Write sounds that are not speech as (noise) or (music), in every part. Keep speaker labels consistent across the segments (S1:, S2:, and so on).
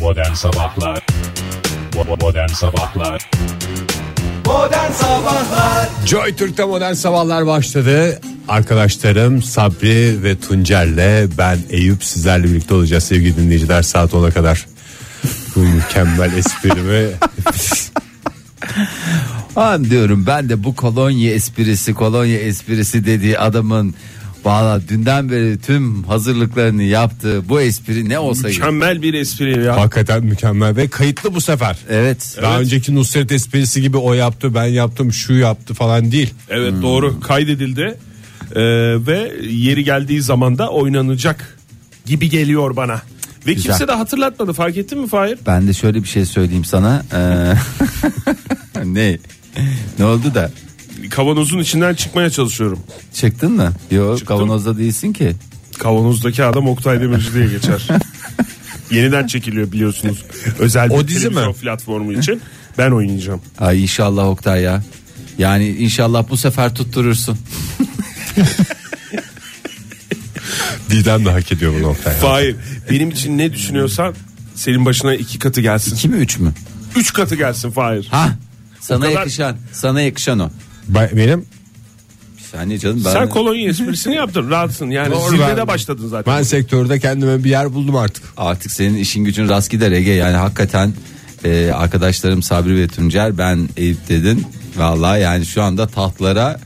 S1: Modern Sabahlar Bo- Modern Sabahlar
S2: Modern Sabahlar
S3: Joy Türk'te modern sabahlar başladı. Arkadaşlarım Sabri ve Tuncer'le ben Eyüp sizlerle birlikte olacağız sevgili dinleyiciler saat 10'a kadar. Bu mükemmel
S4: (laughs)
S3: esprimi
S4: An diyorum ben de bu kolonya esprisi kolonya esprisi dediği adamın valla dünden beri tüm hazırlıklarını yaptığı bu espri ne olsa gerek.
S5: Mükemmel bir espri ya.
S3: hakikaten mükemmel ve kayıtlı bu sefer.
S4: Evet.
S3: Daha önceki Nusret esprisi gibi o yaptı ben yaptım şu yaptı falan değil.
S5: Evet doğru kaydedildi Ee, ve yeri geldiği zaman da oynanacak gibi geliyor bana. Ve
S4: Güzel.
S5: kimse de hatırlatmadı fark ettin mi Fahir?
S4: Ben de şöyle bir şey söyleyeyim sana. Ee, (laughs) ne? Ne oldu da?
S5: Kavanozun içinden çıkmaya çalışıyorum.
S4: Çıktın mı? Yok
S5: Çıktım.
S4: kavanozda değilsin ki.
S5: Kavanozdaki adam Oktay Demirci
S3: (laughs)
S5: diye geçer. Yeniden çekiliyor biliyorsunuz. Özel bir
S3: O dizi
S5: televizyon
S3: mi?
S5: platformu için. Ben oynayacağım.
S4: Ay inşallah Oktay ya. Yani inşallah bu sefer tutturursun.
S3: Didem de hak ediyor bu noktaya.
S5: Fahir benim için ne düşünüyorsan senin başına iki katı gelsin.
S4: İki mi üç mü?
S5: Üç katı gelsin Fahir.
S4: Ha? Sana
S5: kadar-
S4: yakışan. Sana yakışan o.
S3: Ben- benim
S4: Bir saniye canım ben.
S5: Sen kolonya esprisini yaptın rahatsın yani
S3: Doğru,
S5: zirvede
S3: ben-
S5: başladın zaten.
S3: ben sektörde kendime bir yer buldum artık.
S4: artık senin işin gücün rast gider Ege yani hakikaten e, arkadaşlarım Sabri ve Tuncer ben Eyüp dedin vallahi yani şu anda tahtlara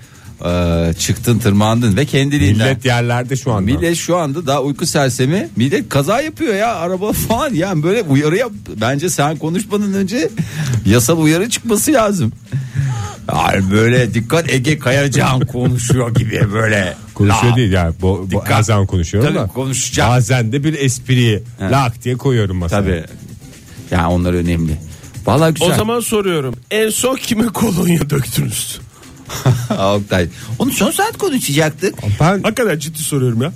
S4: e, çıktın tırmandın ve kendiliğinden
S3: Millet yerlerde şu anda.
S4: Millet şu anda daha uyku sersemi millet kaza yapıyor ya araba (laughs) falan yani böyle uyarı yap bence sen konuşmadan önce yasal uyarı çıkması lazım yani böyle dikkat Ege Kayacan konuşuyor gibi böyle
S3: Konuşuyor
S4: La.
S3: değil yani bu, bu
S4: Dikkat.
S3: her zaman konuşuyorum
S4: Tabii
S3: da.
S4: konuşacağım.
S3: Bazen de bir espriyi lak diye koyuyorum masaya.
S4: tabi yani onlar önemli Vallahi güzel.
S5: O zaman soruyorum. En son kime kolonya döktünüz?
S4: Oktay. Onu son saat konuşacaktık.
S3: Ben
S5: Hakikaten ciddi soruyorum ya.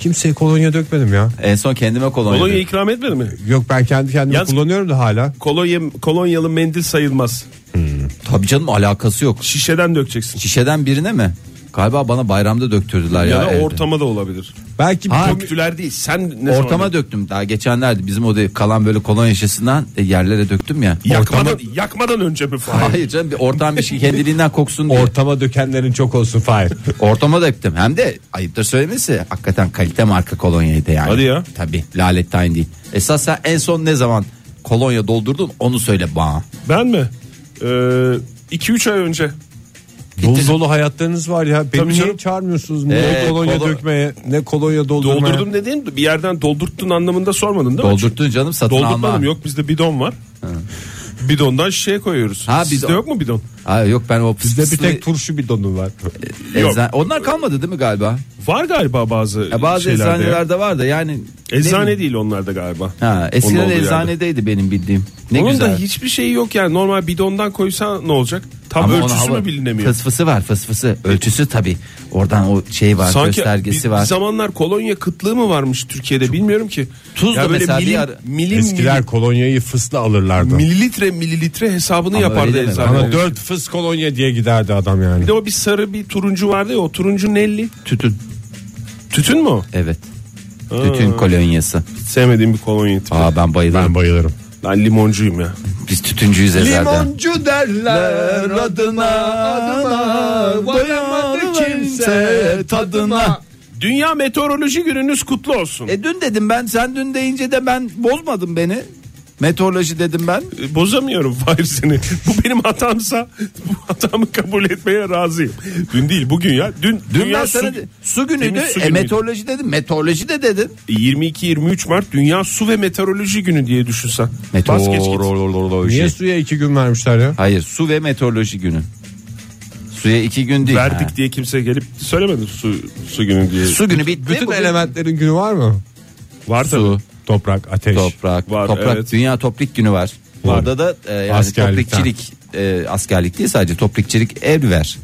S3: kimseye kolonya dökmedim ya.
S4: En son kendime kolonya.
S5: Kolonya
S4: dedim.
S5: ikram etmedi mi?
S3: Yok ben kendi kendime
S5: Yalnız-
S3: kullanıyorum da hala.
S5: Kolonya, kolonyalı mendil sayılmaz.
S4: Tabii canım alakası yok.
S5: Şişeden dökeceksin.
S4: Şişeden birine mi? Galiba bana bayramda döktürdüler ya.
S5: Ya, da
S4: evde.
S5: ortama da olabilir.
S3: Belki
S4: Ha,
S3: kom-
S5: Döktüler değil. Sen ne
S4: Ortama
S5: zaman?
S4: döktüm daha geçenlerde bizim odaya kalan böyle kolonya şişesinden e, yerlere döktüm ya.
S5: Yakmadan,
S3: Ortama-
S5: yakmadan önce mi
S4: (laughs)
S5: Fahir?
S4: Hayır canım bir ortam bir şey kendiliğinden koksun diye.
S3: ortama dökenlerin çok
S4: (laughs)
S3: olsun Fahir.
S4: Ortama döktüm hem de ayıptır söylemesi hakikaten kalite marka kolonyaydı yani.
S5: Hadi ya.
S4: Tabii lalettayn değil. Esas sen en son ne zaman kolonya doldurdun onu söyle bana.
S5: Ben mi? 2-3 ay önce.
S3: Dolu dolu hayatlarınız var ya. Beni
S5: Tabii
S3: niye
S5: canım.
S3: çağırmıyorsunuz? Ne
S4: Ee,
S3: kolonya
S4: kolo-
S3: dökmeye ne kolonya doldurmaya.
S5: Doldurdum dediğin bir yerden doldurttun anlamında sormadın değil mi?
S4: Doldurttun canım satın alma.
S5: Doldurtmadım. Yok bizde bidon var. Bidondan şişeye koyuyoruz.
S4: Ha,
S5: Sizde
S4: bidon.
S5: yok mu bidon?
S4: Ha, yok ben o fıs
S3: Bizde bir
S4: fıslı-
S3: tek turşu bidonu var.
S5: Yok.
S4: Eczan- Onlar kalmadı değil mi galiba?
S5: Var galiba bazı,
S4: Ya bazı
S5: şeylerde. ya.
S4: eczanelerde var da yani. ne
S5: Eczane
S4: bileyim.
S5: değil onlarda galiba.
S4: Ha,
S5: Onun
S4: eskiden
S5: olduğu yerde.
S4: eczanedeydi benim bildiğim. Ne
S5: Onun
S4: güzel.
S5: da hiçbir şeyi yok yani normal bidondan koysan ne olacak? Tam
S4: Ama onun
S5: ölçüsü
S4: hava-
S5: mü bilinemiyor?
S4: Fısfısı var fısfısı. Ölçüsü tabi. Oradan o şey var göstergesi
S5: bir,
S4: var.
S5: bir zamanlar kolonya kıtlığı mı varmış Türkiye'de bilmiyorum ki.
S4: Tuz da
S5: böyle
S4: mesela bir
S5: milim,
S4: ara-
S5: milim,
S3: Eskiler kolonyayı fısla alırlardı.
S5: milim- mililitre mililitre hesabını
S4: Ama öyle
S5: yapardı
S4: deme.
S5: eczane.
S3: Ama dört fıs kolonya diye giderdi adam yani.
S5: Bir de o bir sarı bir turuncu vardı ya o turuncu nelli.
S4: Tütün.
S5: Tütün mü o?
S4: Evet. Tütün kolonyası.
S5: Hiç sevmediğim bir kolonya tipi.
S4: Aa ben bayılırım.
S3: Ben bayılırım.
S5: Ben limoncuyum ya.
S4: Biz tütüncüyüz ezelden.
S3: derler
S5: Dünya Meteoroloji Gününüz kutlu olsun.
S4: E dün dedim ben sen dün deyince de ben bozmadım beni. Meteoroloji dedim ben.
S5: E, bozamıyorum Fahir seni. Bu benim hatamsa bu hatamı kabul etmeye razıyım. Dün değil bugün ya. Dün,
S4: Dün
S5: dünya
S4: ben sana
S5: su,
S4: de- su günüydü.
S5: Temiz su
S4: e,
S5: günüydü.
S4: meteoroloji dedim. Meteoroloji de dedin.
S5: 22-23 Mart Dünya Su ve Meteoroloji Günü diye düşünsen. Bas geç git.
S4: Meteoroloji.
S3: Niye suya iki gün vermişler ya?
S4: Hayır su ve meteoroloji günü. Suya iki gün değil.
S5: Verdik
S4: Ha.
S5: diye kimse gelip söylemedi su, su günü diye.
S4: Su günü bitti.
S3: Bütün
S4: Bugün
S3: elementlerin günü var mı?
S5: Var
S4: su,
S3: Toprak, ateş.
S4: toprak,
S5: Var,
S4: toprak.
S5: evet.
S4: Dünya toprak günü var.
S3: Var.
S4: Orada da e, yani
S3: Askerlikten.
S4: toprakçilik e, askerlik değil sadece toprakçilik ev ver.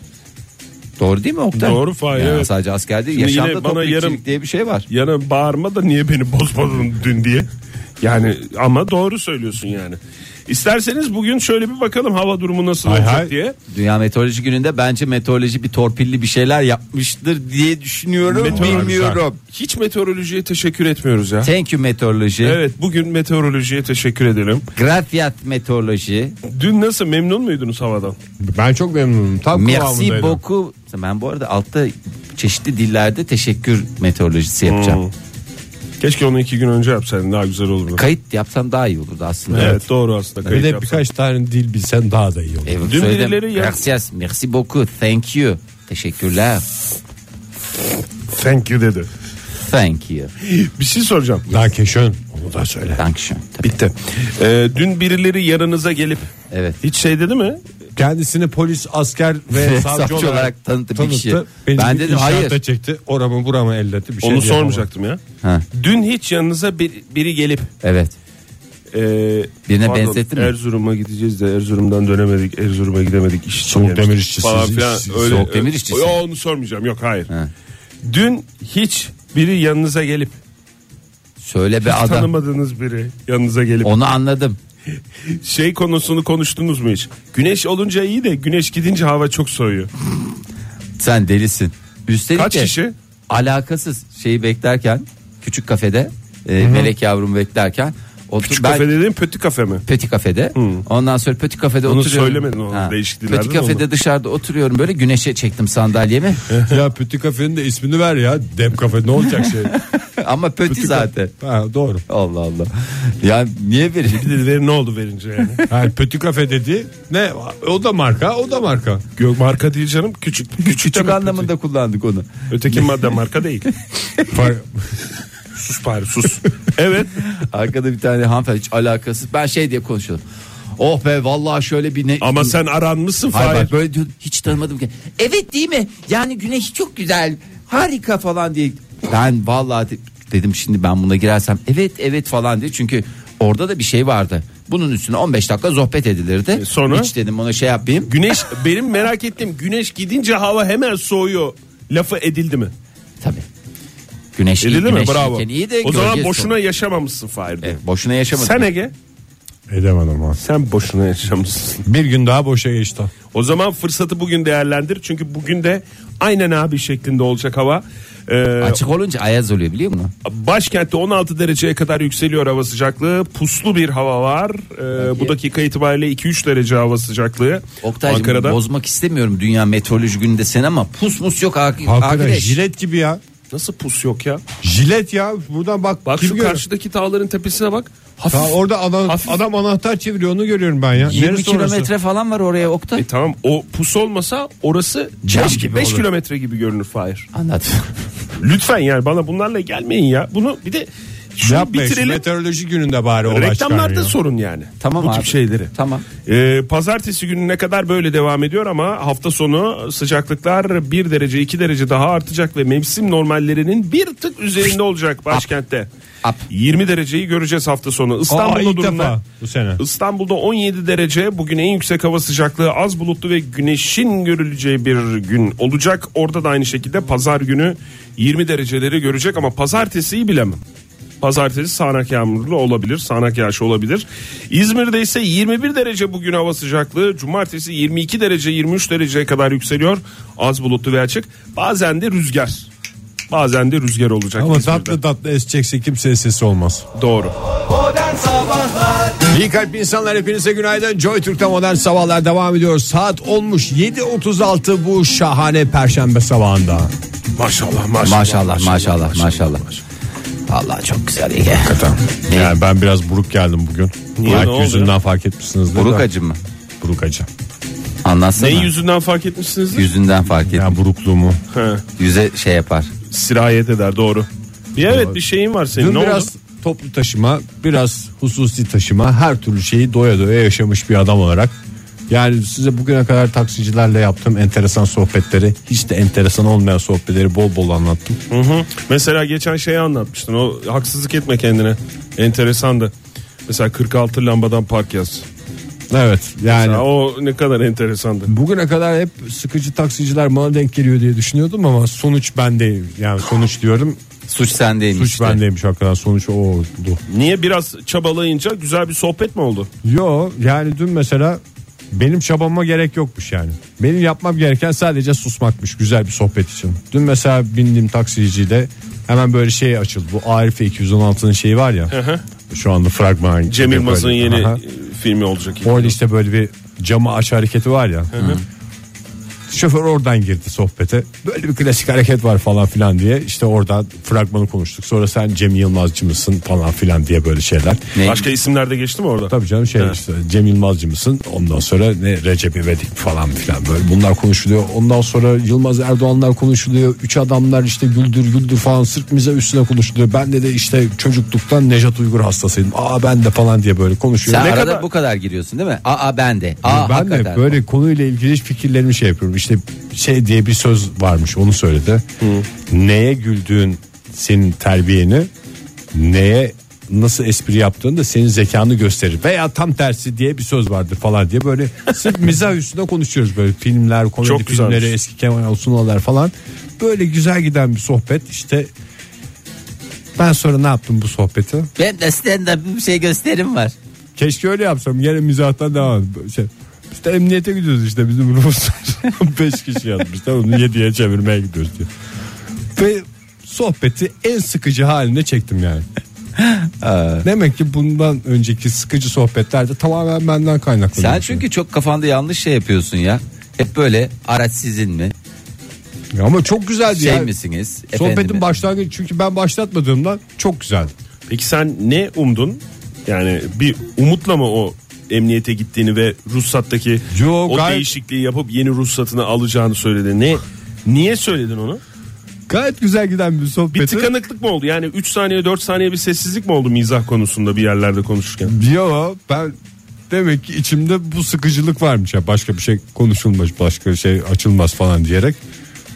S4: Doğru değil mi Oktay?
S5: Doğru, Fahir,
S4: Yani
S5: evet.
S4: Sadece asker değil.
S5: Şimdi yine
S4: yaşamda
S5: bana
S4: toprakçilik
S5: yarım-
S4: diye bir şey var.
S5: Yana bağırma da niye beni bozmadın dün diye. Yani ama doğru söylüyorsun yani. İsterseniz bugün şöyle bir bakalım hava durumu nasıl
S3: Hay
S5: olacak
S3: hay.
S5: diye.
S4: Dünya Meteoroloji Günü'nde bence meteoroloji bir torpilli bir şeyler yapmıştır diye düşünüyorum.
S5: Meteoroloji.
S4: Bilmiyorum.
S5: Hiç meteorolojiye teşekkür etmiyoruz ya.
S4: Thank you meteoroloji.
S5: Evet bugün meteorolojiye teşekkür edelim.
S4: Grafiyat meteoroloji.
S5: Dün nasıl memnun muydunuz havadan?
S3: Ben çok memnunum. Tam
S4: Merci
S3: kıvamındaydım.
S4: beaucoup. Ben bu arada altta çeşitli dillerde teşekkür meteorolojisi yapacağım.
S5: Hmm. Keşke onu iki gün önce yapsaydın daha güzel olurdu.
S4: Kayıt yapsam daha iyi olurdu aslında.
S5: evet, doğru aslında.
S3: Bir
S5: kayıt
S3: de
S5: yapsan.
S3: birkaç tane dil bilsen daha da iyi olur.
S4: Evet,
S5: Dün
S4: söyledim.
S5: birileri ya-
S4: Gracias, merci beaucoup, thank you. Teşekkürler.
S5: Thank you dedi.
S4: Thank you.
S5: (laughs) Bir şey soracağım.
S3: Daha keşön. Onu da söyle.
S4: Dankeschön. Tabii.
S5: Bitti. Ee, dün birileri yanınıza gelip
S4: Evet.
S5: hiç şey dedi mi?
S3: Kendisini polis, asker
S4: (laughs)
S3: ve savcı,
S4: Savcı olarak
S3: olarak
S4: tanıttı bir
S3: tanıttı.
S4: kişi.
S3: Beni
S4: Ben
S3: bir
S4: dedim,
S3: inşaatta
S4: hayır.
S3: çekti. Oramı buramı elletti. Bir şey
S5: Onu
S3: diyemem.
S5: sormayacaktım ya.
S4: Ha.
S5: Dün hiç yanınıza bir- biri gelip
S4: Evet.
S5: e,
S4: Birine benzettin mi?
S5: Erzurum'a gideceğiz de Erzurum'dan dönemedik. Erzurum'a gidemedik. iş için
S3: Soğuk
S5: gelmiştik
S3: demir işçisi,
S5: Falan
S3: iş-
S5: filan.
S3: iş-
S5: öyle, e,
S4: soğuk demir işçisi.
S5: Yo, onu sormayacağım. Yok hayır.
S4: Ha.
S5: Dün hiç biri yanınıza gelip
S4: Söyle be adam.
S5: tanımadığınız biri yanınıza gelip
S4: Onu anladım.
S5: şey konusunu konuştunuz mu hiç? Güneş olunca iyi de güneş gidince hava çok soğuyor.
S4: Sen delisin. Üstelik
S5: Kaç
S4: de
S5: kişi?
S4: Alakasız şeyi beklerken küçük kafede e, melek yavrumu beklerken otur,
S5: Küçük
S4: ben
S5: kafe dediğin pötü kafe mi?
S4: Petit kafede. Ondan sonra petit kafede
S5: Onu
S4: oturuyorum.
S5: söylemedin oğlum, değişik dillerden
S4: Petit kafede dışarıda oturuyorum böyle güneşe çektim
S5: (laughs)
S4: sandalyemi.
S3: (laughs) ya Pütü Kafe'nin de ismini ver ya. Dem Kafe ne olacak
S4: (laughs)
S3: şey?
S4: Ama petit zaten.
S3: Ha, doğru.
S4: Allah Allah. Ya niye verir?
S5: Bir de ver- ne oldu verince yani?
S4: (laughs)
S3: Ha, Pütü Kafe dedi. Ne? O da marka, o da marka.
S5: Gök marka değil canım küçük. Küçük,
S4: (laughs) Küçük anlamında kullandık onu.
S5: Öteki madde
S4: (laughs)
S5: marka değil. sus bari sus. Evet.
S4: Arkada bir tane hanımefendi hiç alakasız. Ben şey diye konuşuyorum. Oh be vallahi şöyle bir ne...
S5: Ama sen aranmışsın
S4: Hayır,
S5: Fahir.
S4: bak böyle diyor hiç tanımadım ki. Evet değil mi? Yani güneş çok güzel. Harika falan diye. Ben vallahi de- dedim şimdi ben buna girersem evet evet falan diye. Çünkü orada da bir şey vardı. Bunun üstüne 15 dakika sohbet edilirdi.
S5: E, sonra?
S4: Hiç dedim ona şey yapmayayım.
S5: Güneş benim merak ettiğim güneş gidince hava hemen soğuyor. Lafı edildi mi?
S4: Tabii. Güneş iyi,
S5: Edildi mi?
S4: güneş
S5: Bravo.
S4: iken iyi de
S5: o zaman
S4: gölgesi-
S5: boşuna yaşamamışsın Fahir.
S4: Evet, boşuna yaşamadım.
S5: Sen Ege?
S3: Edemedim ha.
S5: Sen boşuna yaşamışsın.
S3: Bir gün daha boşa geçti.
S5: O zaman fırsatı bugün değerlendir. Çünkü bugün de aynen abi şeklinde olacak hava. Ee,
S4: Açık olunca ayaz oluyor biliyor musun?
S5: başkentte 16 dereceye kadar yükseliyor hava sıcaklığı. Puslu bir hava var. Ee, bu dakika itibariyle 2-3 derece hava sıcaklığı.
S4: Oktay'cığım
S5: Ankara'da.
S4: bozmak istemiyorum dünya meteoroloji gününde sen ama pus mus yok ar-
S3: Hakikaten
S4: arkadaş.
S3: jilet gibi ya.
S5: Nasıl pus yok ya?
S3: Jilet ya. Buradan bak.
S5: Bak
S3: kim
S5: şu
S3: görüyor?
S5: karşıdaki dağların tepesine bak. Hafif.
S3: Ta orada adam,
S5: Hafif.
S3: adam anahtar çeviriyor onu görüyorum ben ya.
S4: 20
S3: Neresi orası?
S4: kilometre falan var oraya Oktay.
S5: E tamam o pus olmasa orası
S4: Cam
S5: 5
S4: gibi olur.
S5: kilometre gibi görünür Fahir.
S4: Anlat.
S5: Lütfen yani bana bunlarla gelmeyin ya. Bunu bir de şunu
S3: Yapma şu
S5: bitirelim.
S3: meteoroloji gününde bari olay
S5: Reklamlarda
S3: çıkarmıyor.
S5: sorun yani.
S4: Tamam
S5: Bu
S4: abi.
S5: tip şeyleri.
S4: Tamam.
S5: Ee, pazartesi gününe kadar böyle devam ediyor ama hafta sonu sıcaklıklar 1 derece 2 derece daha artacak ve mevsim normallerinin bir tık üzerinde olacak başkentte.
S4: Up.
S5: 20 dereceyi göreceğiz hafta sonu.
S3: Aa,
S5: İstanbul'da
S3: ilk
S5: durumlar.
S3: defa bu sene.
S5: İstanbul'da 17 derece bugün en yüksek hava sıcaklığı az bulutlu ve güneşin görüleceği bir gün olacak. Orada da aynı şekilde pazar günü 20 dereceleri görecek ama pazartesiyi bilemem. Pazartesi sağanak yağmurlu olabilir, sağanak yağış olabilir. İzmir'de ise 21 derece bugün hava sıcaklığı. Cumartesi 22 derece 23 dereceye kadar yükseliyor. Az bulutlu ve açık. Bazen de rüzgar. Bazen de rüzgar olacak.
S3: Ama
S5: İzmir'de.
S3: tatlı tatlı esecekse kimseye sesi olmaz.
S5: Doğru.
S2: Modern Sabahlar
S3: İyi kalp insanlar hepinize günaydın. Joy Türk'te modern sabahlar devam ediyor. Saat olmuş 7.36 bu şahane perşembe sabahında.
S5: Maşallah maşallah.
S4: Maşallah maşallah maşallah. Vallahi çok güzel Ege. Ne?
S3: Yani ben biraz buruk geldim bugün.
S5: Niye, ne oldu
S3: Belki yüzünden fark etmişsinizdir.
S4: Buruk
S3: da.
S4: acı mı?
S3: Buruk acı.
S4: Anlatsana.
S5: Neyin yüzünden fark etmişsinizdir?
S4: Yüzünden fark et.
S3: Yani burukluğumu.
S5: He.
S4: Yüze şey yapar.
S5: sirayet eder doğru. Bir evet bir şeyin var senin.
S3: Dün
S5: ne
S3: biraz
S5: oldu?
S3: toplu taşıma, biraz hususi taşıma, her türlü şeyi doya doya yaşamış bir adam olarak. Yani size bugüne kadar taksicilerle yaptığım enteresan sohbetleri, hiç de enteresan olmayan sohbetleri bol bol anlattım.
S5: Hı hı. Mesela geçen şeyi anlatmıştın. O haksızlık etme kendine. Enteresandı. Mesela 46 lambadan park yaz.
S3: Evet yani
S5: Ya o ne kadar enteresandı.
S3: bugüne kadar hep sıkıcı taksiciler bana denk geliyor diye düşünüyordum ama sonuç ben değil. Yani sonuç diyorum
S4: Suç sendeymiş.
S3: Suç
S4: işte.
S3: bendeymiş hakikaten sonuç o oldu.
S5: Niye biraz çabalayınca güzel bir sohbet mi oldu?
S3: Yo yani dün mesela benim çabama gerek yokmuş yani. Benim yapmam gereken sadece susmakmış güzel bir sohbet için. Dün mesela bindiğim taksiciyle hemen böyle şey açıldı. Bu Arif 216'nın şeyi var ya. Şu anda fragman.
S5: Cemil
S3: böyle.
S5: Maz'ın yeni
S3: Aha.
S5: e, filmi olacak.
S3: Orada işte böyle bir camı aç hareketi var ya. Şoför oradan girdi sohbete. Böyle bir klasik hareket var falan filan diye. İşte oradan fragmanı konuştuk. Sonra sen Cem Yılmazcı mısın falan filan diye böyle şeyler.
S4: Ne?
S5: Başka isimler de geçti mi orada?
S3: Tabii canım şey işte Cem Yılmazcı mısın? Ondan sonra ne Recep İvedik falan filan böyle bunlar konuşuluyor. Ondan sonra Yılmaz Erdoğanlar konuşuluyor. Üç adamlar işte güldür güldür falan sırt mize üstüne konuşuluyor. Ben de de işte çocukluktan Nejat Uygur hastasıydım. Aa ben de falan diye böyle konuşuyor.
S4: Sen
S3: Ne
S4: arada
S5: kadar-
S4: bu kadar giriyorsun değil mi? Aa ben de. Aa
S3: Ee, ben
S4: hakikaten.
S3: de böyle konuyla ilgili fikirlerimi şey yapıyorum. İşte şey diye bir söz varmış onu söyledi. Neye güldüğün senin terbiyeni, neye nasıl espri yaptığın da senin zekanı gösterir. Veya tam tersi diye bir söz vardır falan diye böyle sırf mizah üstüne konuşuyoruz böyle filmler, komedi
S5: Çok güzelmiş.
S3: filmleri, eski Kemal Sunal'lar falan. Böyle güzel giden bir sohbet işte ben sonra ne yaptım bu sohbeti?
S4: Ben de stand up bir şey gösterim var.
S3: Keşke öyle yapsam. Gene mizahtan devam. Böyle Şey, işte emniyete gidiyoruz işte bizim (laughs) Ruslar. 5 kişi yazmışlar onu 7'ye çevirmeye gidiyoruz diyor. Ve sohbeti en sıkıcı haline çektim yani. Demek ki bundan önceki sıkıcı sohbetler de tamamen benden kaynaklı.
S4: Sen çünkü çok kafanda yanlış şey yapıyorsun ya. Hep böyle araç sizin mi?
S3: Ama çok güzeldi
S4: Şey
S3: ya.
S4: misiniz?
S3: Sohbetin
S4: Efendim-
S3: başlangıcı çünkü ben başlatmadığımdan çok güzeldi.
S5: Peki sen ne umdun? Yani bir umutla mı o emniyete gittiğini ve ruhsattaki
S3: Yo,
S5: o
S3: gayet-
S5: değişikliği yapıp yeni ruhsatını alacağını söyledi. Ne? Niye söyledin onu?
S3: Gayet güzel giden bir sohbeti.
S5: Bir tıkanıklık mı oldu? Yani 3 saniye 4 saniye bir sessizlik mi oldu mizah konusunda bir yerlerde konuşurken?
S3: Yo ben demek ki içimde bu sıkıcılık varmış ya başka bir şey konuşulmaz başka şey açılmaz falan diyerek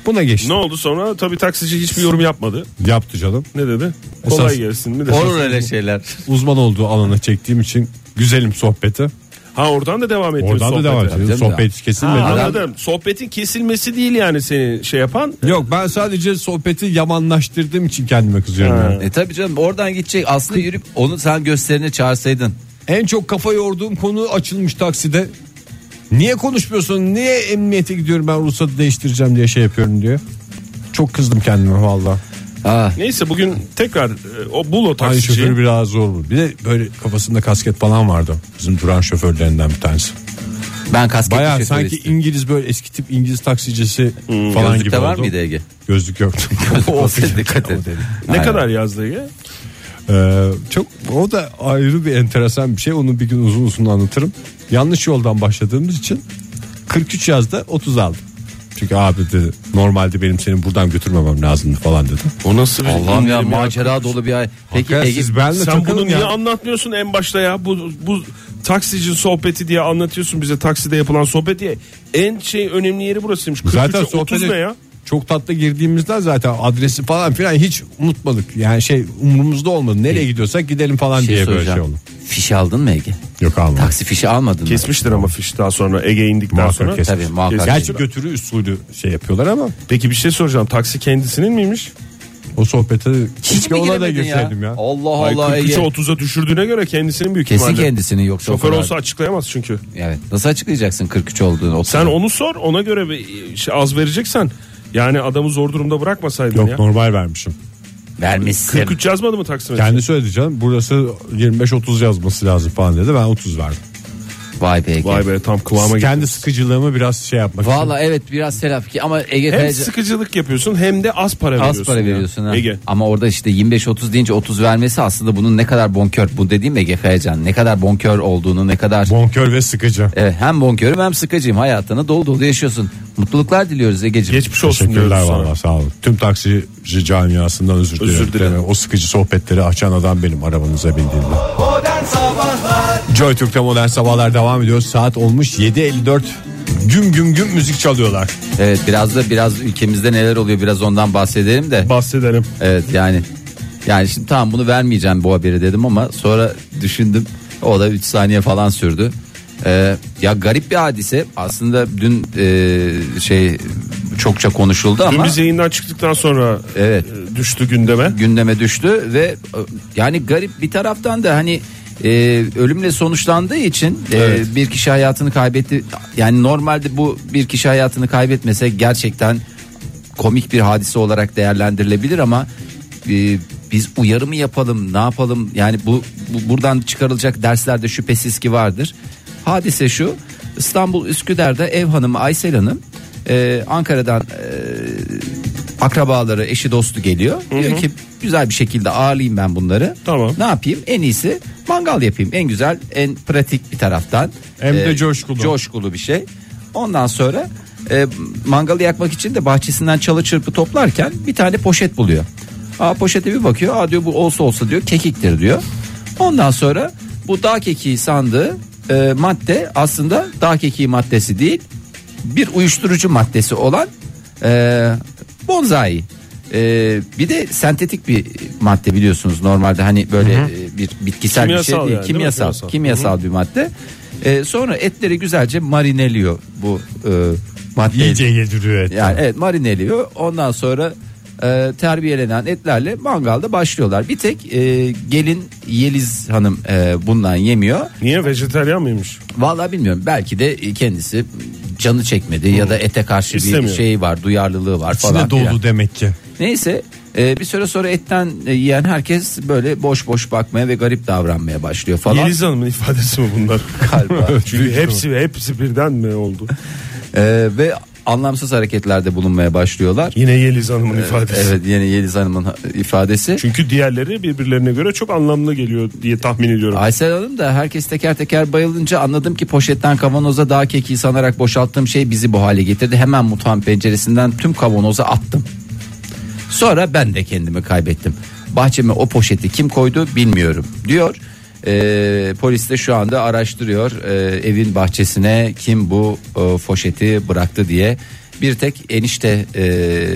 S3: buna geçtim.
S5: Ne oldu sonra? Tabii taksici hiçbir yorum yapmadı.
S3: Yaptı canım.
S5: Ne dedi? Kolay
S3: Esas-
S5: gelsin mi dedi?
S4: Olur öyle şeyler.
S3: Uzman olduğu alana çektiğim için güzelim sohbeti.
S5: Ha oradan da devam ettiniz
S3: Oradan da
S5: sohbete.
S3: devam edelim.
S4: canım
S3: Sohbet
S5: Ha,
S3: kesilmedi.
S5: anladım. Sohbetin kesilmesi değil yani seni şey yapan.
S3: Yok ben sadece sohbeti yamanlaştırdığım için kendime kızıyorum. yani.
S4: E tabii canım oradan gidecek aslında yürüp onu sen gösterine çağırsaydın.
S3: En çok kafa yorduğum konu açılmış takside. Niye konuşmuyorsun? Niye emniyete gidiyorum ben ruhsatı değiştireceğim diye şey yapıyorum diyor. Çok kızdım kendime valla.
S4: Aa,
S5: Neyse bugün tekrar e, o bul o
S3: Aynı
S5: taksiciyi.
S3: şoförü biraz zor bu. Bir de böyle kafasında kasket falan vardı. Bizim duran şoförlerinden bir tanesi.
S4: ben kasketli
S3: Baya
S4: şoför
S3: sanki
S4: istedim.
S3: İngiliz böyle eski tip İngiliz taksicisi falan
S4: Gözlükte
S3: gibi
S4: var
S3: oldu.
S4: mıydı
S3: (laughs)
S4: Ege? (laughs)
S3: Gözlük yoktu.
S4: O dikkat et.
S5: Ne kadar yazdı ya?
S3: Ee, çok o da ayrı bir enteresan bir şey. Onu bir gün uzun uzun anlatırım. Yanlış yoldan başladığımız için 43 yazda 30 aldım. Çünkü abi dedi normalde benim senin buradan götürmemem lazımdı falan dedi.
S5: O nasıl bir
S4: Allah'ım ya macera dolu bir ay. Peki
S3: Ya
S4: Ege,
S3: siz benle
S5: Sen bunu
S3: takılın
S5: niye
S3: ya.
S5: anlatmıyorsun en başta ya? Bu bu taksici sohbeti diye anlatıyorsun bize takside yapılan sohbet diye. En şey önemli yeri burasıymış. 43'e
S3: Zaten
S5: 30
S3: sohbete
S5: ne ya?
S3: çok tatlı girdiğimizden zaten adresi falan filan hiç unutmadık. Yani şey umurumuzda olmadı. Nereye gidiyorsak gidelim falan
S4: şey
S3: diye böyle şey
S4: soracağım.
S3: oldu.
S4: Fiş aldın mı Ege?
S3: Yok almadım.
S4: Taksi fişi almadın mı?
S5: Kesmiştir ama fiş daha sonra Ege indikten
S3: Muhakkak
S5: sonra.
S3: kesmiş.
S4: Tabii muhakkak.
S5: Kes-
S3: Gerçi götürü üsulü şey yapıyorlar ama
S5: Peki bir şey soracağım. Taksi kendisinin miymiş?
S3: o sohbete
S4: Hiç
S3: keşke
S4: mi
S3: ona da
S4: giremedin ya?
S3: girseydim ya.
S4: Allah
S5: Ay
S4: Allah
S5: 43'e
S4: Ege.
S5: 30'a düşürdüğüne göre kendisinin büyük
S4: Kesin
S5: ihtimalle.
S4: kendisini yoksa o
S5: Şoför
S4: kadar-
S5: olsa açıklayamaz çünkü.
S4: Evet. Nasıl açıklayacaksın 43 olduğunu?
S5: Sen onu sor ona göre bir şey az vereceksen. Yani adamı zor durumda bırakmasaydın
S3: Yok
S5: ya.
S3: normal vermişim.
S4: vermişsin.
S5: 43 yazmadı mı taksimetre?
S3: Kendi söyledi canım burası 25-30 yazması lazım falan dedi ben 30 verdim.
S4: Vay be Ege.
S5: Vay be tam kıvama geldi.
S3: Kendi sıkıcılığımı biraz şey yapmak
S4: Valla evet biraz serap ki ama Ege
S5: Hem
S4: Kayacan-
S5: sıkıcılık yapıyorsun hem de az para veriyorsun.
S4: az para
S5: ya.
S4: veriyorsun ha.
S5: Ege.
S4: Ama orada işte 25-30 deyince 30 vermesi aslında bunun ne kadar bonkör bu dediğim Ege Kayacan ne kadar bonkör olduğunu ne kadar
S3: için. Bonkör ve sıkıcı.
S4: Evet, hem bonkörüm hem sıkıcıyım hayatını dolu dolu yaşıyorsun. Mutluluklar diliyoruz Ege'ciğim.
S5: Geçmiş olsun
S3: Teşekkürler
S5: diyoruz sana.
S3: valla sağ olun. Tüm taksici camiasından özür,
S5: Özür dilerim.
S3: Yani O sıkıcı sohbetleri açan adam benim arabanıza bindiğimde.
S2: Modern Sabahlar
S3: Joy Türk'te modern sabahlar devam ediyor. Saat olmuş 7.54. Güm güm güm müzik çalıyorlar.
S4: Evet biraz da biraz ülkemizde neler oluyor biraz ondan bahsedelim de.
S5: Bahsedelim.
S4: Evet yani yani şimdi tamam bunu vermeyeceğim bu haberi dedim ama sonra düşündüm o da 3 saniye falan sürdü. Ee, ya garip bir hadise aslında dün e, şey çokça konuşuldu
S5: Dün
S4: ama
S5: biz yayından çıktıktan sonra
S4: Evet.
S5: e, düştü gündeme.
S4: gündeme düştü ve e, yani garip bir taraftan da hani e, ölümle sonuçlandığı için e, bir kişi hayatını kaybetti. Yani normalde bu bir kişi hayatını kaybetmese gerçekten komik bir hadise olarak değerlendirilebilir ama e, biz uyarı mı yapalım ne yapalım yani bu, bu buradan çıkarılacak derslerde şüphesiz ki vardır. Hadise şu İstanbul Üsküdar'da ev hanımı Aysel Hanım e, Ankara'dan e, akrabaları eşi dostu geliyor. Diyor ki güzel bir şekilde ağırlayayım ben bunları.
S5: Tamam.
S4: Ne yapayım? En iyisi mangal yapayım. En güzel, en pratik bir taraftan. Ee,
S3: Hem de coşkulu.
S4: Coşkulu bir şey. Ondan sonra e, mangalı yakmak için de bahçesinden çalı çırpı toplarken bir tane poşet buluyor. Aa poşete bir bakıyor. Aa diyor bu olsa olsa diyor kekiktir diyor. Ondan sonra bu dağ kekiği sandığı e, madde aslında dağ kekiği maddesi değil. Bir uyuşturucu maddesi olan e, bonzai. E, bir de sentetik bir madde biliyorsunuz normalde hani böyle e, bir bitkisel bir şey
S5: Kimyasal
S4: değil.
S5: yani, değil mi?
S4: kimyasal,
S5: Kimyasal.
S4: kimyasal, bir madde. E, sonra etleri güzelce marineliyor bu e, madde.
S3: İyice yediriyor et.
S4: Yani evet marineliyor. Ondan sonra e, terbiyelenen etlerle mangalda başlıyorlar. Bir tek e, gelin Yeliz Hanım e, bundan yemiyor.
S5: Niye vejeteryan mıymış?
S4: Vallahi bilmiyorum. Belki de kendisi canı çekmedi ya da ete karşı bir
S5: Hmm. İstemiyor.
S4: şey var, duyarlılığı var falan.
S3: İçine dolu
S4: filan.
S3: demek ki.
S4: Neyse e, bir süre sonra etten e, yiyen herkes böyle boş boş bakmaya ve garip davranmaya başlıyor falan.
S5: Yeliz Hanım'ın ifadesi mi bunlar?
S4: Galiba.
S5: (laughs) Çünkü hepsi hepsi birden mi oldu?
S4: E, ve anlamsız hareketlerde bulunmaya başlıyorlar.
S5: Yine Yeliz Hanım'ın ifadesi.
S4: Evet yeni Yeliz Hanım'ın ha- ifadesi.
S5: Çünkü diğerleri birbirlerine göre çok anlamlı geliyor diye tahmin ediyorum.
S4: Aysel Hanım da herkes teker teker bayılınca anladım ki poşetten kavanoza daha keki sanarak boşalttığım şey bizi bu hale getirdi. Hemen mutfağın penceresinden tüm kavanoza attım. Sonra ben de kendimi kaybettim. Bahçeme o poşeti kim koydu bilmiyorum diyor. Ee, polis de şu anda araştırıyor ee, evin bahçesine kim bu e, poşeti bıraktı diye. Bir tek enişte e,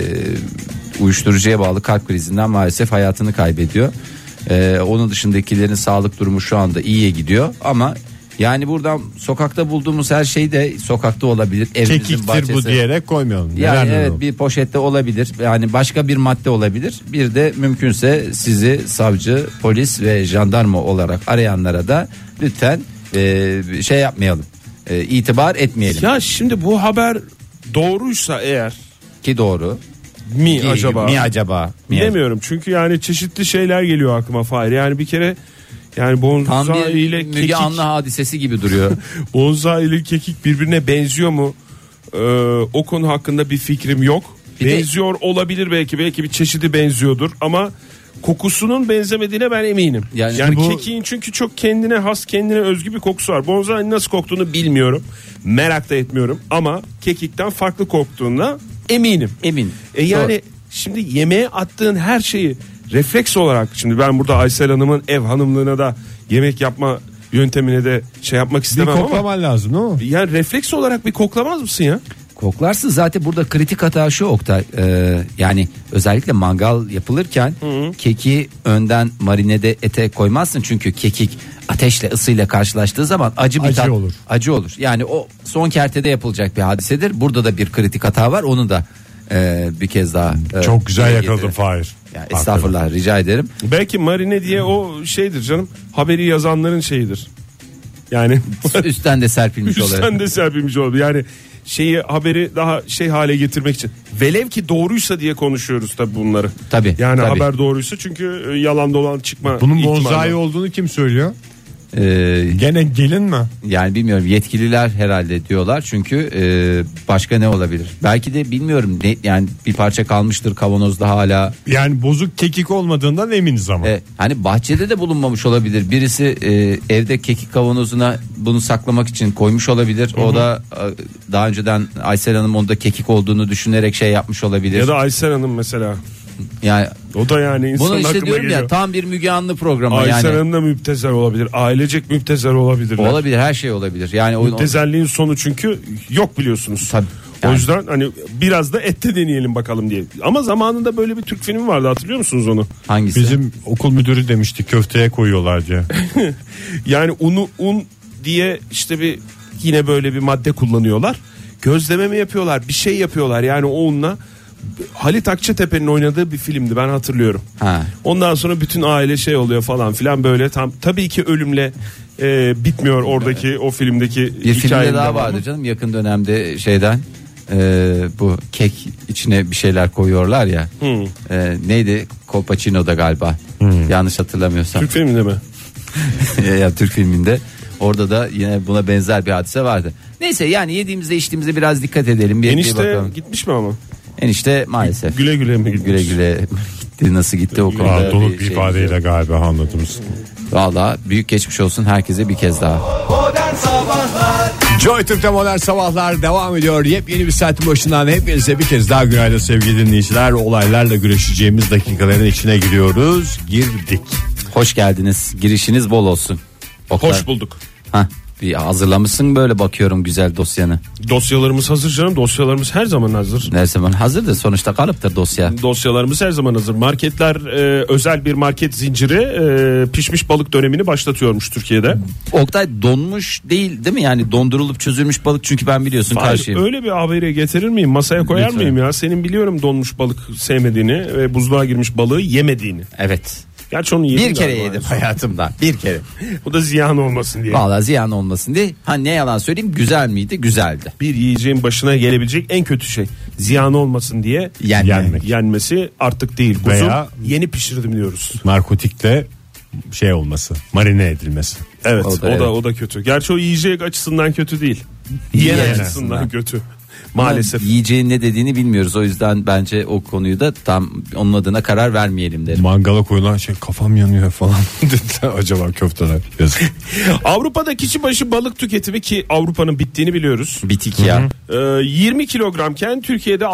S4: uyuşturucuya bağlı kalp krizinden maalesef hayatını kaybediyor. Ee, onun dışındakilerin sağlık durumu şu anda iyiye gidiyor ama yani buradan sokakta bulduğumuz her şey de sokakta olabilir. Evimizin
S3: Kekiktir bu
S4: bahçesi-
S3: diyerek koymayalım.
S4: yani
S3: Neler
S4: evet
S3: neler
S4: bir poşette olabilir. Yani başka bir madde olabilir. Bir de mümkünse sizi savcı, polis ve jandarma olarak arayanlara da lütfen e, şey yapmayalım. E, itibar etmeyelim
S5: Ya şimdi bu haber doğruysa eğer
S4: ki doğru.
S5: mi
S4: Ki-
S5: acaba?
S4: Mi acaba? Mi
S5: Bilemiyorum çünkü yani çeşitli şeyler geliyor aklıma Fahri. Yani bir kere yani
S4: Tam
S5: bonza
S4: bir
S5: ile
S4: Müge
S5: kekik,
S4: Anlı hadisesi gibi
S5: (laughs)
S4: duruyor.
S5: bonza ile kekik birbirine benziyor mu? Ee, o konu hakkında bir fikrim yok.
S4: Bir de-
S5: Benziyor olabilir belki belki bir çeşidi benziyordur ama kokusunun benzemediğine ben eminim.
S4: Yani
S5: Yani,
S4: bu-
S5: kekiğin çünkü çok kendine has kendine özgü bir kokusu var. Bonzai nasıl koktuğunu bilmiyorum. Merak da etmiyorum ama kekikten farklı koktuğuna eminim.
S4: Emin.
S5: E yani şimdi yemeğe attığın her şeyi refleks olarak şimdi ben burada Aysel Hanım'ın ev hanımlığına da yemek yapma yöntemine de şey yapmak
S3: Bir
S5: istemem ama
S3: koklaman lazım değil mi?
S5: yani refleks olarak bir koklamaz mısın ya?
S4: Koklarsın zaten burada kritik hata şu Oktay Ee, yani özellikle mangal yapılırken keki önden marinede ete koymazsın çünkü kekik ateşle ısıyla karşılaştığı zaman acı bir
S3: Acı
S4: tat-
S3: olur.
S4: acı olur yani o son kertede yapılacak bir hadisedir burada da bir kritik hata var onu da e, bir kez daha e,
S3: Çok güzel
S4: dile
S3: yakaladın
S4: getirelim.
S3: Fahir.
S4: Yani estağfurullah rica
S3: (laughs)
S4: ederim
S5: Belki marine diye o şeydir canım haberi yazanların şeyidir. (laughs) Yani
S4: üstten de serpilmiş olarak
S5: üstten de serpilmiş olabilir. Yani şeyi haberi daha şey hale getirmek için. Velev ki doğruysa diye konuşuyoruz tabii bunları.
S4: Tabii,
S5: Yani
S4: tabii.
S5: haber doğruysa çünkü e, yalan dolan çıkma
S3: Bunun
S5: ihtimali
S3: bonzai
S5: var.
S3: olduğunu kim söylüyor?
S4: Ee,
S3: Gene gelin mi?
S4: Yani bilmiyorum yetkililer herhalde diyorlar çünkü e, başka ne olabilir? Belki de bilmiyorum ne, yani bir parça kalmıştır kavanozda hala.
S3: Yani bozuk kekik olmadığından eminiz ama.
S4: E, hani bahçede de bulunmamış olabilir. Birisi e, evde kekik kavanozuna bunu saklamak için koymuş olabilir. O da e, daha önceden Aysel Hanım onda kekik olduğunu düşünerek şey yapmış olabilir.
S5: Ya da Aysel Hanım mesela.
S4: yani
S5: O da yani insanın
S4: bunu işte
S5: aklına
S4: diyorum
S5: geliyor.
S4: ya tam bir Müge Anlı programı
S5: Aysel
S4: yani.
S5: Hanım da müptezel olabilir. Ailecek müptezel olabilir.
S4: Olabilir her şey olabilir. Yani o
S5: Müptezelliğin sonu çünkü yok biliyorsunuz.
S4: Tabii. Yani.
S5: O yüzden hani biraz da ette deneyelim bakalım diye. Ama zamanında böyle bir Türk filmi vardı hatırlıyor musunuz onu?
S4: hangisi?
S3: Bizim okul müdürü demişti köfteye koyuyorlar diye.
S5: Yani unu un diye işte bir yine böyle bir madde kullanıyorlar. Gözleme mi yapıyorlar? Bir şey yapıyorlar yani o unla Halit Akçatepe'nin oynadığı bir filmdi ben hatırlıyorum.
S4: Ha.
S5: Ondan sonra bütün aile şey oluyor falan filan böyle tam tabii ki ölümle e, bitmiyor oradaki o filmdeki
S4: Bir
S5: hikayenin
S4: filmde daha
S5: devamı.
S4: vardı canım yakın dönemde şeyden e, bu kek içine bir şeyler koyuyorlar ya.
S5: Hmm.
S4: E, neydi? Copacino'da galiba. Yanlış hatırlamıyorsam.
S5: Türk filminde mi?
S4: (laughs) ya Türk filminde. Orada da yine buna benzer bir hadise vardı. Neyse yani yediğimizde içtiğimizde biraz dikkat edelim. Bir bir
S5: Enişte
S4: bakalım.
S5: gitmiş mi ama?
S4: Enişte maalesef.
S5: Güle güle mi gitmiş?
S4: Güle güle gitti nasıl gitti o konuda.
S3: Daha dolu
S4: bir
S3: bir
S4: şey-
S3: ifadeyle galiba anladınız.
S4: Valla büyük geçmiş olsun herkese bir kez daha.
S2: Modern Sabahlar
S3: (laughs) Joy Türk'te modern sabahlar devam ediyor. Yepyeni bir saatin başından hepinize bir kez daha günaydın sevgili dinleyiciler. Olaylarla güreşeceğimiz dakikaların içine giriyoruz. Girdik.
S4: Hoş geldiniz. Girişiniz bol olsun. Oktay.
S5: Hoş bulduk.
S4: Hah, bir hazırlamışsın böyle bakıyorum güzel dosyanı.
S5: Dosyalarımız hazır canım. Dosyalarımız her zaman hazır.
S4: Her zaman hazır da sonuçta kalıptır dosya.
S5: Dosyalarımız her zaman hazır. Marketler e, özel bir market zinciri e, pişmiş balık dönemini başlatıyormuş Türkiye'de.
S4: Oktay donmuş değil değil mi? Yani dondurulup çözülmüş balık çünkü ben biliyorsun
S5: Hayır,
S4: karşıyım.
S5: öyle bir haberi getirir miyim? Masaya koyar
S4: Lütfen.
S5: mıyım ya? Senin biliyorum donmuş balık sevmediğini ve buzluğa girmiş balığı yemediğini.
S4: Evet.
S5: Gerçi onu yedim
S4: Bir kere
S5: galiba.
S4: yedim hayatımda. Bir kere.
S5: (laughs) Bu da ziyan olmasın diye.
S4: Valla ziyan olmasın diye. Ha ne yalan söyleyeyim güzel miydi? Güzeldi.
S5: Bir yiyeceğin başına gelebilecek en kötü şey ziyan olmasın diye
S4: Yenme.
S3: Yenmek.
S5: yenmesi artık değil. Kuzu
S3: Veya-
S5: yeni pişirdim diyoruz.
S3: Narkotikle şey olması, marine edilmesi.
S5: Evet
S4: O
S5: o
S4: da
S5: da,
S4: evet.
S5: o da kötü. Gerçi o yiyecek açısından kötü değil. Yiyen
S4: Yiyen
S5: açısından,
S4: açısından.
S5: kötü.
S4: Ama
S5: Maalesef.
S4: Yiyeceğin ne dediğini bilmiyoruz. O yüzden bence o konuyu da tam onun adına karar vermeyelim derim.
S3: Mangala koyulan şey kafam yanıyor falan (laughs) dediler. Acaba köfteler. Yazık. (laughs)
S5: Avrupa'da kişi başı balık tüketimi ki Avrupa'nın bittiğini biliyoruz.
S4: Bitik ya.
S5: Ee, 20 kilogramken Türkiye'de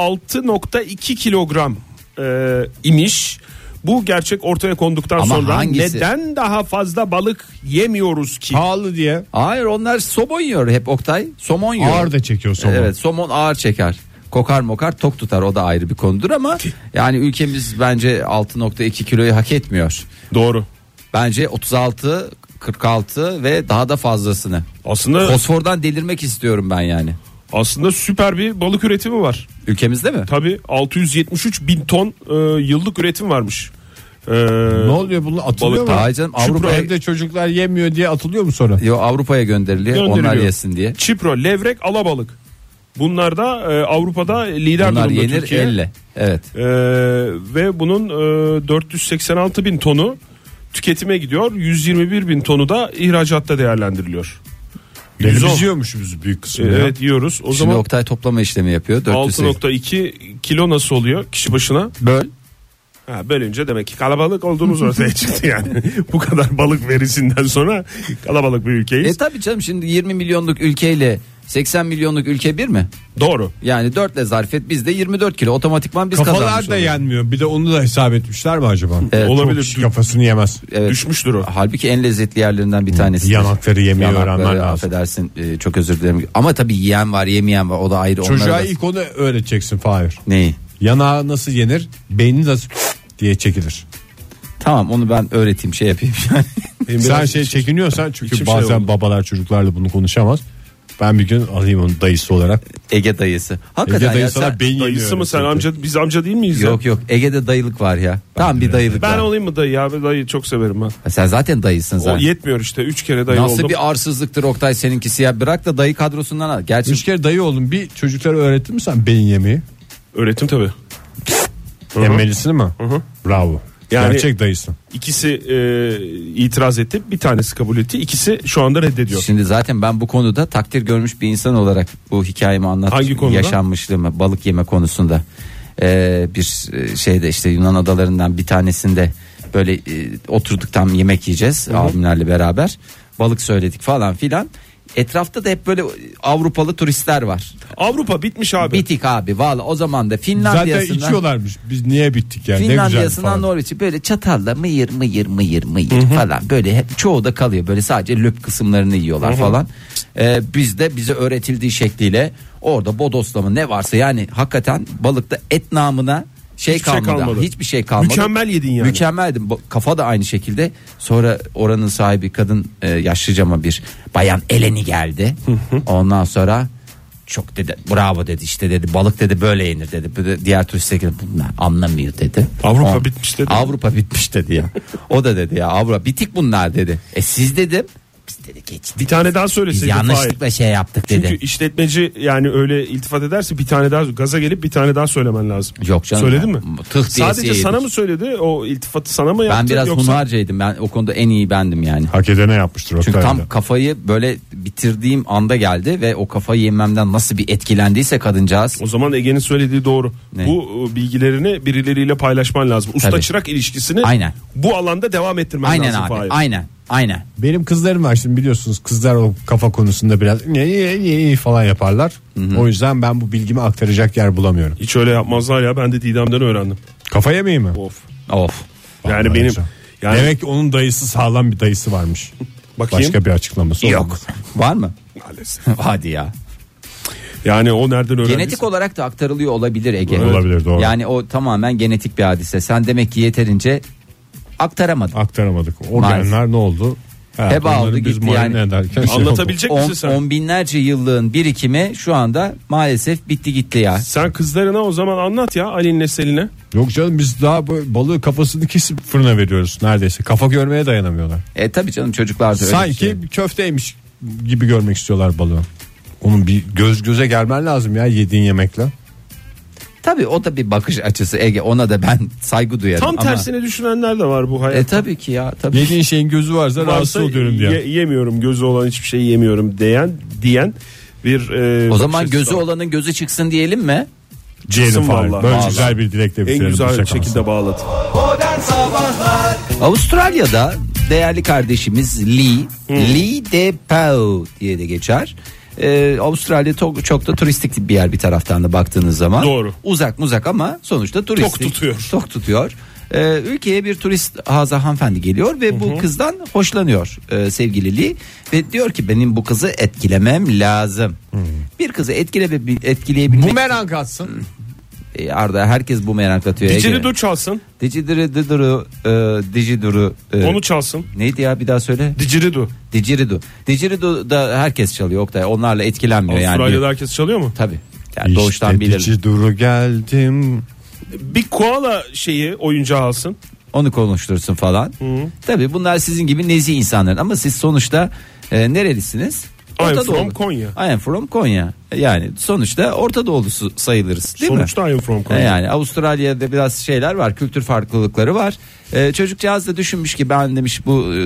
S5: 6.2 kilogram e, imiş. Bu gerçek ortaya konduktan
S4: Ama
S5: sonra
S4: hangisi?
S5: neden daha fazla balık yemiyoruz ki?
S3: Pahalı diye
S4: Hayır onlar somon yiyor hep Oktay. Somon yiyor.
S3: ağır da çekiyor somon.
S4: Evet somon ağır çeker. Kokar mokar tok tutar o da ayrı bir konudur ama yani ülkemiz bence 6.2 kiloyu hak etmiyor.
S5: Doğru.
S4: Bence 36 46 ve daha da fazlasını.
S5: Aslında
S4: Fosfordan delirmek istiyorum ben yani.
S5: aslında süper bir balık üretimi var.
S4: Ülkemizde mi?
S5: Tabii 673 bin ton e, yıllık üretim varmış. E,
S3: Ne oluyor bunu atılıyor
S5: Balık
S3: mu?
S4: Hayır canım, Avrupa-
S3: Avrupa evde çocuklar yemiyor diye atılıyor mu sonra?
S4: Yo Avrupa'ya gönderiliyor onlar
S5: Gönderiliyor.
S4: yesin diye.
S5: Çipro, levrek, alabalık. Bunlar da e, Avrupa'da lider
S4: Bunlar
S5: durumda
S4: yenir
S5: Türkiye.
S4: elle. Evet.
S5: E, ve bunun e, 486 bin tonu tüketime gidiyor. 121 bin tonu da ihracatta değerlendiriliyor.
S3: Deniz
S5: 110.
S3: yiyormuşuz büyük
S5: E,
S3: kısmı. ya.
S5: Evet yiyoruz. O
S4: Şimdi
S5: zaman
S4: Oktay toplama işlemi yapıyor. 408.
S5: 6.2 kilo nasıl oluyor kişi başına?
S4: Böl.
S5: Ha, bölünce demek ki kalabalık
S4: (laughs)
S5: olduğumuz ortaya çıktı yani. Bu kadar balık verisinden sonra kalabalık bir
S4: E
S5: ülkeyiz.
S4: tabii canım şimdi 20 milyonluk ülkeyle 80 milyonluk ülke bir mi?
S5: Doğru.
S4: Yani 4 ile zarf et bizde 24 kilo otomatikman biz kazanmış
S3: Kafalar da
S4: oluyoruz.
S3: yenmiyor. Bir de onu da hesap etmişler mi acaba?
S4: Evet.
S5: Olabilir.
S3: Çok kişi kafasını yemez.
S4: Evet.
S5: Düşmüştür o.
S4: Halbuki en lezzetli yerlerinden bir tanesi.
S3: Yanakları yemeyi
S4: Yanakları,
S3: öğrenmen lazım.
S4: Affedersin e, çok özür dilerim. Ama tabii yiyen var yemeyen var o da ayrı.
S3: Çocuğa
S4: onlara da-
S3: ilk onu öğreteceksin Fahir.
S4: Neyi?
S3: Yanağı nasıl yenir? Beyni nasıl diye çekilir.
S4: Tamam onu ben öğreteyim şey yapayım. (laughs) Yani.
S3: Sen şey çekiniyorsan çünkü
S5: İçim şey
S3: bazen
S5: oldu.
S3: babalar çocuklarla bunu konuşamaz. Ben bir gün alayım onu dayısı olarak.
S4: Ege dayısı.
S3: Ege
S4: Hakikaten ya
S3: dayı sana
S4: sen-
S3: beyin yemiyor
S5: Dayısı mı sen
S3: öğretecek.
S5: amca biz amca değil miyiz? ya?
S4: Yok yok Ege'de dayılık var ya. Tam bir dayılık
S5: Ben
S4: var.
S5: olayım mı dayı abi? Dayı çok severim ben.
S4: Ha, Sen zaten dayısın
S5: O
S4: zaten.
S5: yetmiyor işte. Üç kere dayı
S4: Nasıl
S5: oldum.
S4: bir arsızlıktır Oktay seninkisi ya bırak da dayı kadrosundan al. Gerçi
S3: Üç kere dayı oldum. Bir çocuklara öğrettin mi sen beyin yemeyi?
S5: Öğretim tabii.
S3: Yemelisini mi? Bravo.
S5: Yani-
S3: Gerçek dayısın.
S5: İkisi e, itiraz etti. Bir tanesi kabul etti. İkisi şu anda reddediyor.
S4: Şimdi zaten ben bu konuda takdir görmüş bir insan olarak bu hikayemi anlattım.
S5: Hangi konuda?
S4: Yaşanmışlığımı balık yeme konusunda. Ee, bir e, şeyde işte Yunan adalarından bir tanesinde böyle e, oturduk tam yemek yiyeceğiz abimlerle beraber. Balık söyledik falan filan. Etrafta da hep böyle Avrupalı turistler var.
S5: Avrupa bitmiş abi.
S4: Bitik abi valla o zaman da
S3: Zaten
S4: Finlandiya'sından
S3: içiyorlarmış. Biz niye bittik yani? Ne güzel
S4: Finlandiya'sından
S3: falan.
S4: Norveç'e böyle çatalla mıyır mıyır mıyır mıyır falan böyle hep çoğu da kalıyor böyle sadece löp kısımlarını yiyorlar falan. Ee, biz de bize öğretildiği şekliyle orada bodoslama ne varsa yani hakikaten balıkta et namına şey
S5: Hiçbir şey
S4: kalmadı.
S5: kalmadı.
S4: Hiçbir şey kalmadı.
S5: Mükemmel yedin yani.
S4: Mükemmeldim. Bu- Kafa da aynı şekilde. Sonra oranın sahibi kadın e, yaşlıca ama bir bayan Eleni geldi. Ondan sonra çok dedi bravo dedi işte dedi balık dedi böyle yenir dedi. Bir de Diğer turistler gelip bunlar anlamıyor dedi.
S5: Avrupa
S4: On-
S5: bitmiş dedi.
S4: Avrupa bitmiş dedi
S5: (laughs)
S4: ya. O da dedi ya Avrupa bitik bunlar dedi. E siz dedim. Biz dedi geçtik.
S5: Bir tane daha
S4: Biz
S5: söyleseydin. Fahir.
S4: yanlışlıkla şey yaptık dedi.
S5: Çünkü işletmeci yani öyle iltifat ederse bir tane daha gaza gelip bir tane daha söylemen lazım.
S4: Yok canım.
S5: Söyledi mi?
S4: Tıh diye şey
S5: Sadece
S4: yedik.
S5: sana mı söyledi? O iltifatı sana mı yaptı?
S4: Ben biraz
S5: yoksa...
S4: hunharcaydım. Ben o konuda en iyi bendim yani.
S3: Hak edene yapmıştır
S4: Çünkü
S3: Oktay'da.
S4: tam kafayı böyle bitirdiğim anda geldi ve o kafayı yememden nasıl bir etkilendiyse kadıncağız.
S5: O zaman Ege'nin söylediği doğru.
S4: Ne?
S5: Bu e, bilgilerini birileriyle paylaşman lazım. Usta
S4: Tabii.
S5: çırak ilişkisini
S4: Aynen.
S5: bu alanda devam ettirmen
S4: Aynen
S5: lazım.
S4: abi.
S5: Fahir.
S4: Aynen. Aynen.
S3: Benim kızlarım var şimdi biliyorsunuz kızlar o kafa konusunda biraz ne ne- ne- ne falan yaparlar. O yüzden ben bu bilgimi aktaracak yer bulamıyorum.
S5: Hiç öyle yapmazlar ya ben de Didem'den öğrendim.
S3: Kafa yemeği mi?
S5: Of.
S4: Of.
S5: Yani
S3: Vallahi
S5: benim
S3: hocam.
S5: yani
S3: Demek ki onun dayısı sağlam bir dayısı varmış.
S5: Bakayım.
S3: Başka bir şey açıklaması
S4: Yok.
S3: olamaz.
S4: Var mı?
S5: maalesef.
S4: (laughs) Hadi ya.
S5: Yani o nereden öğrendiyse.
S4: Genetik olarak da aktarılıyor olabilir Ege.
S3: Evet. Olabilir, doğru.
S4: Yani o tamamen genetik bir hadise. Sen demek ki yeterince aktaramadın.
S3: Aktaramadık. O
S4: Maalesef.
S3: genler ne oldu? Ha,
S4: Heba
S3: onları
S4: oldu
S3: biz
S4: gitti
S3: muayene
S4: yani.
S3: ederken şey oldu.
S5: Anlatabilecek
S4: On,
S5: misin sen?
S4: on binlerce yıllığın birikimi şu anda maalesef bitti gitti ya.
S5: Sen kızlarına o zaman anlat ya Ali'nin Selin'e.
S3: Yok canım biz daha böyle balığı kafasını kesip fırına veriyoruz neredeyse. Kafa görmeye dayanamıyorlar.
S4: E tabii canım çocuklar da öyle
S3: Sanki
S4: düşünüyor.
S3: bir köfteymiş gibi görmek istiyorlar balığı. Onun bir göz göze gelmen lazım ya yediğin yemekle.
S4: Tabii o da bir bakış açısı Ege ona da ben saygı duyarım
S5: Tam
S4: ama.
S5: tersine düşünenler de var bu hayatta.
S4: E tabii ki ya tabii.
S3: Yediğin şeyin gözü varsa rahatsız
S5: Varsa
S3: oluyorum diye.
S5: ye- yemiyorum gözü olan hiçbir şeyi yemiyorum diyen diyen bir e,
S4: o
S5: bakış
S4: zaman
S5: açısı
S4: gözü
S5: var.
S4: olanın gözü çıksın diyelim mi?
S3: Diyelim
S5: Kızım
S3: falan.
S5: vallahi.
S3: Böyle
S5: Vallahi.
S3: güzel bir dilekle
S5: en
S3: bitirelim.
S5: güzel
S3: Hoşça kalın.
S5: şekilde bağladı.
S6: Modern Sabahlar
S4: Avustralya'da değerli kardeşimiz Lee, Lee de Pau diye de geçer. Ee, Avustralya çok, çok da turistik bir yer bir taraftan da baktığınız zaman.
S5: Doğru.
S4: Uzak muzak ama sonuçta turistik.
S5: Tok tutuyor.
S4: Tok tutuyor. Ee, ülkeye bir turist haza hanımefendi geliyor ve bu kızdan hoşlanıyor e, sevgili Lee. Ve diyor ki benim bu kızı etkilemem lazım. Bir kızı etkile, etkileyebilmek...
S3: Bumerang atsın.
S4: Ee, Arda herkes bu meraklatıyor.
S5: Didgeridoo çalsın.
S4: Diciduru, diduru, e, diciduru, e,
S5: Onu çalsın.
S4: Neydi ya bir daha söyle.
S5: Didgeridoo.
S4: Didgeridoo. Didgeridoo da herkes çalıyor Oktay. Onlarla etkilenmiyor
S5: Avustralya'da
S4: yani.
S5: herkes çalıyor mu?
S4: Tabii. Yani doğuştan bilir.
S3: duru geldim.
S5: Bir koala şeyi oyuncağı alsın.
S4: Onu konuştursun falan. Tabii bunlar sizin gibi nezi insanlar ama siz sonuçta e, nerelisiniz?
S5: I am
S4: Orta
S5: from
S4: Doğulu.
S5: Konya.
S4: I am from Konya. Yani sonuçta Orta Doğulusu sayılırız değil mi?
S5: Sonuçta I am from Konya.
S4: E Yani Avustralya'da biraz şeyler var, kültür farklılıkları var. E, çocukcağız da düşünmüş ki ben demiş bu e,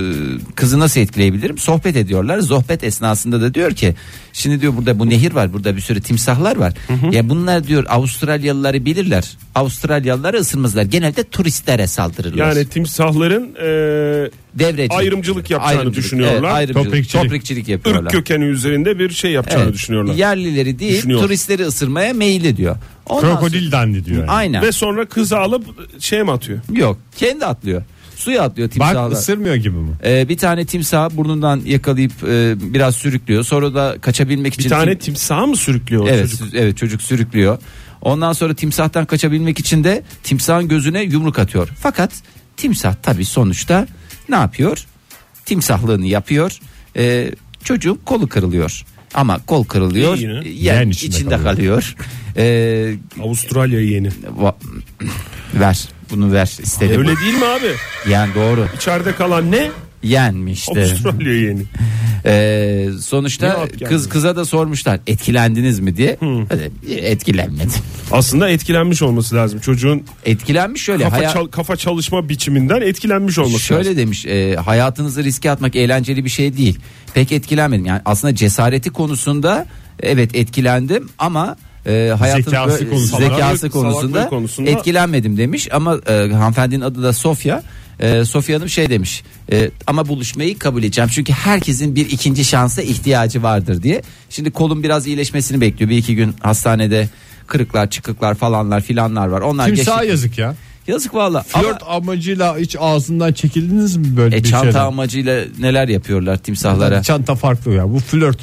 S4: kızı nasıl etkileyebilirim? Sohbet ediyorlar. Sohbet esnasında da diyor ki şimdi diyor burada bu nehir var, burada bir sürü timsahlar var. Ya bunlar diyor Avustralyalıları bilirler. Avustralyalıları ısırmazlar. Genelde turistlere saldırırlar.
S5: Yani timsahların e,
S4: Devrecilik.
S5: ayrımcılık yapacağını düşünüyorlar.
S4: toprikçilik.
S3: Toprikçilik.
S4: yapıyorlar.
S5: ırk kökeni üzerinde bir şey yapacağını
S4: Evet.
S5: düşünüyorlar.
S4: Yerlileri değil
S5: Düşünüyor.
S4: turistleri ısırmaya meyil ediyor. Ondan
S3: Krokodil dendi diyor.
S4: sonra-
S3: yani.
S4: Aynen.
S5: Ve sonra kızı alıp şeye mi atıyor?
S4: Yok kendi atlıyor. Suya atlıyor
S3: Bak
S4: timsahlar.
S3: ısırmıyor gibi mi?
S4: Ee, bir tane timsahı burnundan yakalayıp e, biraz sürüklüyor. Sonra da kaçabilmek
S5: Bir
S4: için
S5: tane
S4: tim-
S5: timsaha mı sürüklüyor o
S4: evet
S5: çocuk?
S4: sü- evet çocuk sürüklüyor. Ondan sonra timsahtan kaçabilmek için de timsahın gözüne yumruk atıyor. Fakat timsah tabii sonuçta ne yapıyor? Timsahlığını yapıyor. Ee, çocuğun kolu kırılıyor. Ama kol kırılıyor.
S5: İyi yine.
S4: yer
S3: Yerin
S4: içinde,
S3: içinde
S4: kalıyor. Ee,
S5: Avustralya yeni.
S4: va- (coughs) ver bunu ver istedim.
S5: Öyle değil mi abi?
S4: Yani doğru.
S5: İçeride kalan ne?
S4: Yenmişti.
S5: Avustralya yeni.
S4: Ee,
S5: Ne
S4: sonuçta
S5: yap yani?
S4: kız kıza da sormuşlar etkilendiniz mi diye. Hadi, Etkilenmedim.
S5: Aslında etkilenmiş olması lazım. Çocuğun
S4: Etkilenmiş şöyle.
S5: kafa,
S4: haya-
S5: çal- kafa çalışma biçiminden etkilenmiş olması
S4: şöyle
S5: lazım.
S4: demiş e, hayatınızı riske atmak eğlenceli bir şey değil. Pek etkilenmedim. Yani aslında cesareti konusunda evet etkilendim ama e, hayatın
S3: Zekası
S4: böyle-
S3: konusunda.
S4: zekası
S5: Salaklık-
S4: konusunda,
S5: salaklık konusunda-
S4: etkilenmedim demiş ama e, hanımefendinin adı da Sofya. E, Sofya Hanım şey demiş e, ama buluşmayı kabul edeceğim çünkü herkesin bir ikinci şansa ihtiyacı vardır diye. Şimdi kolun biraz iyileşmesini bekliyor bir iki gün hastanede kırıklar çıkıklar falanlar filanlar var onlar
S3: Timsaha
S4: geçti-
S3: yazık ya.
S4: yazık valla
S3: Flört amacıyla hiç ağzından çekildiniz mi böyle
S4: e,
S3: bir
S4: çanta
S3: şeyden?
S4: amacıyla neler yapıyorlar timsahlara.
S3: Yani Çanta farklı ya. Bu flört.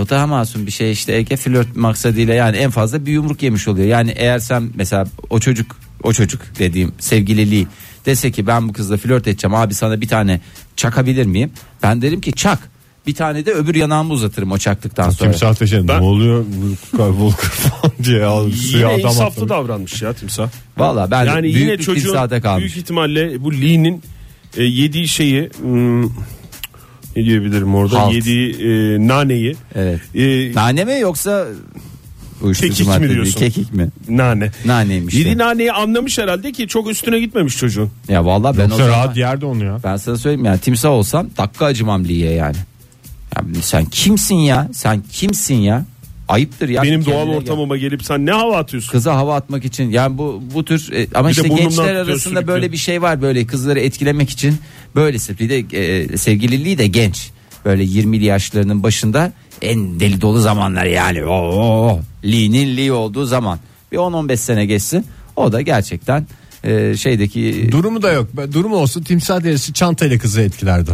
S4: O daha masum bir şey işte Ege flört maksadıyla yani en fazla bir yumruk yemiş oluyor. Yani eğer sen mesela o çocuk o çocuk dediğim sevgililiği dese ki ben bu kızla flört edeceğim abi sana bir tane çakabilir miyim? Ben derim ki çak. Bir tane de öbür yanağımı uzatırım o çaktıktan sonra.
S3: Timsah taşıyan
S5: Ben-
S3: ne oluyor Vulkar Vulkar falan diye al, suya
S5: Yine
S3: adam
S5: insaflı
S3: atlamış.
S5: davranmış ya timsah.
S4: Valla ben
S5: Yani
S4: büyük
S5: yine
S4: bir
S5: çocuğun
S4: timsahta kalmış.
S5: büyük ihtimalle bu Lee'nin e, yediği şeyi hmm, ne diyebilirim orada
S4: Halt.
S5: yediği e, naneyi
S4: Evet.
S5: e,
S4: Nane mi yoksa uyuşturucu
S5: Kekik mi
S4: madde mi
S5: diyorsun?
S4: Kekik mi?
S5: nane.
S4: Naneymiş.
S5: Yediği
S4: de.
S5: naneyi anlamış herhalde ki çok üstüne gitmemiş çocuğun.
S4: Ya valla ben o
S3: Yoksa
S4: zaman,
S3: rahat yerde onu ya.
S4: ben sana söyleyeyim yani timsah olsam dakika acımam Liye yani. Ya sen kimsin ya? Sen kimsin ya? Ayıptır ya.
S5: Benim
S4: Kendine
S5: doğal
S4: gel.
S5: ortamıma gelip sen ne hava atıyorsun?
S4: kıza hava atmak için yani bu bu tür e, ama
S5: Bir de
S4: işte
S5: burnumdan
S4: gençler
S5: tutuyor,
S4: arasında
S5: sürüklüyor.
S4: böyle bir şey var böyle kızları etkilemek için böylesi bir de e, sevgililiği de genç böyle 20'li yaşlarının başında en deli dolu zamanlar yani o o Lee'nin Lee olduğu zaman bir 10-15 sene geçsin o da gerçekten e, şeydeki
S3: Durumu da yok. Ben- Durumu olsa timsah derisi çantayla kızı etkilerdi.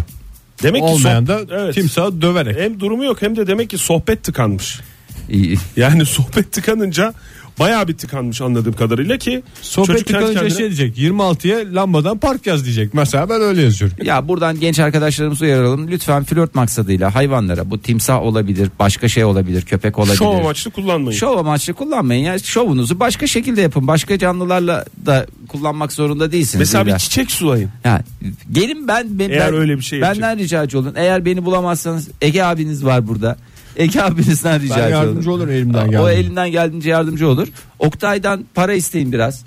S5: Demek ki
S3: Olmayan da
S5: sohbet- Evet.
S3: timsahı döverek.
S5: hem durumu yok hem de demek ki sohbet tıkanmış.
S4: İyi.
S5: Yani (laughs) sohbet tıkanınca bayağı bir tıkanmış anladığım kadarıyla ki
S3: Sohbet
S5: çocuk kendi
S3: tıkanınca
S5: kendine-
S3: şey diyecek 26'ya lambadan park yaz diyecek. Mesela ben öyle yazıyorum.
S4: Ya buradan genç arkadaşlarımızı uyaralım. Lütfen flört maksadıyla hayvanlara bu timsah olabilir, başka şey olabilir, köpek olabilir.
S5: şov amaçlı kullanmayın.
S4: Şov amaçlı kullanmayın ya. Şovunuzu başka şekilde yapın. Başka canlılarla da kullanmak zorunda değilsiniz.
S5: Mesela bir
S4: İlla.
S5: çiçek sulayın.
S4: Ha, gelin ben, ben
S5: Eğer
S4: ben-
S5: öyle bir şey
S4: benden
S5: yapacak-
S4: ricacı olun. Eğer beni bulamazsanız Ege abiniz var burada. Ege abinizden ricacı
S3: Ben
S4: olun.
S3: yardımcı olurum elimden
S4: O
S3: geldiğince.
S4: elinden geldiğince yardımcı olur. Oktay'dan para isteyin biraz.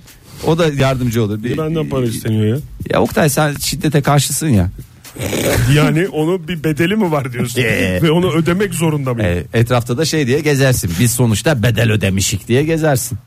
S4: O da yardımcı olur. Bir,
S5: Benden para
S4: (laughs)
S5: isteniyor ya.
S4: Ya Oktay sen şiddete karşısın ya.
S5: Yani onun bir bedeli mi var diyorsun?
S4: Ee.
S5: Ve onu ödemek zorunda mıyım?
S4: E, etrafta da şey diye gezersin. Biz sonuçta bedel ödemişik diye gezersin.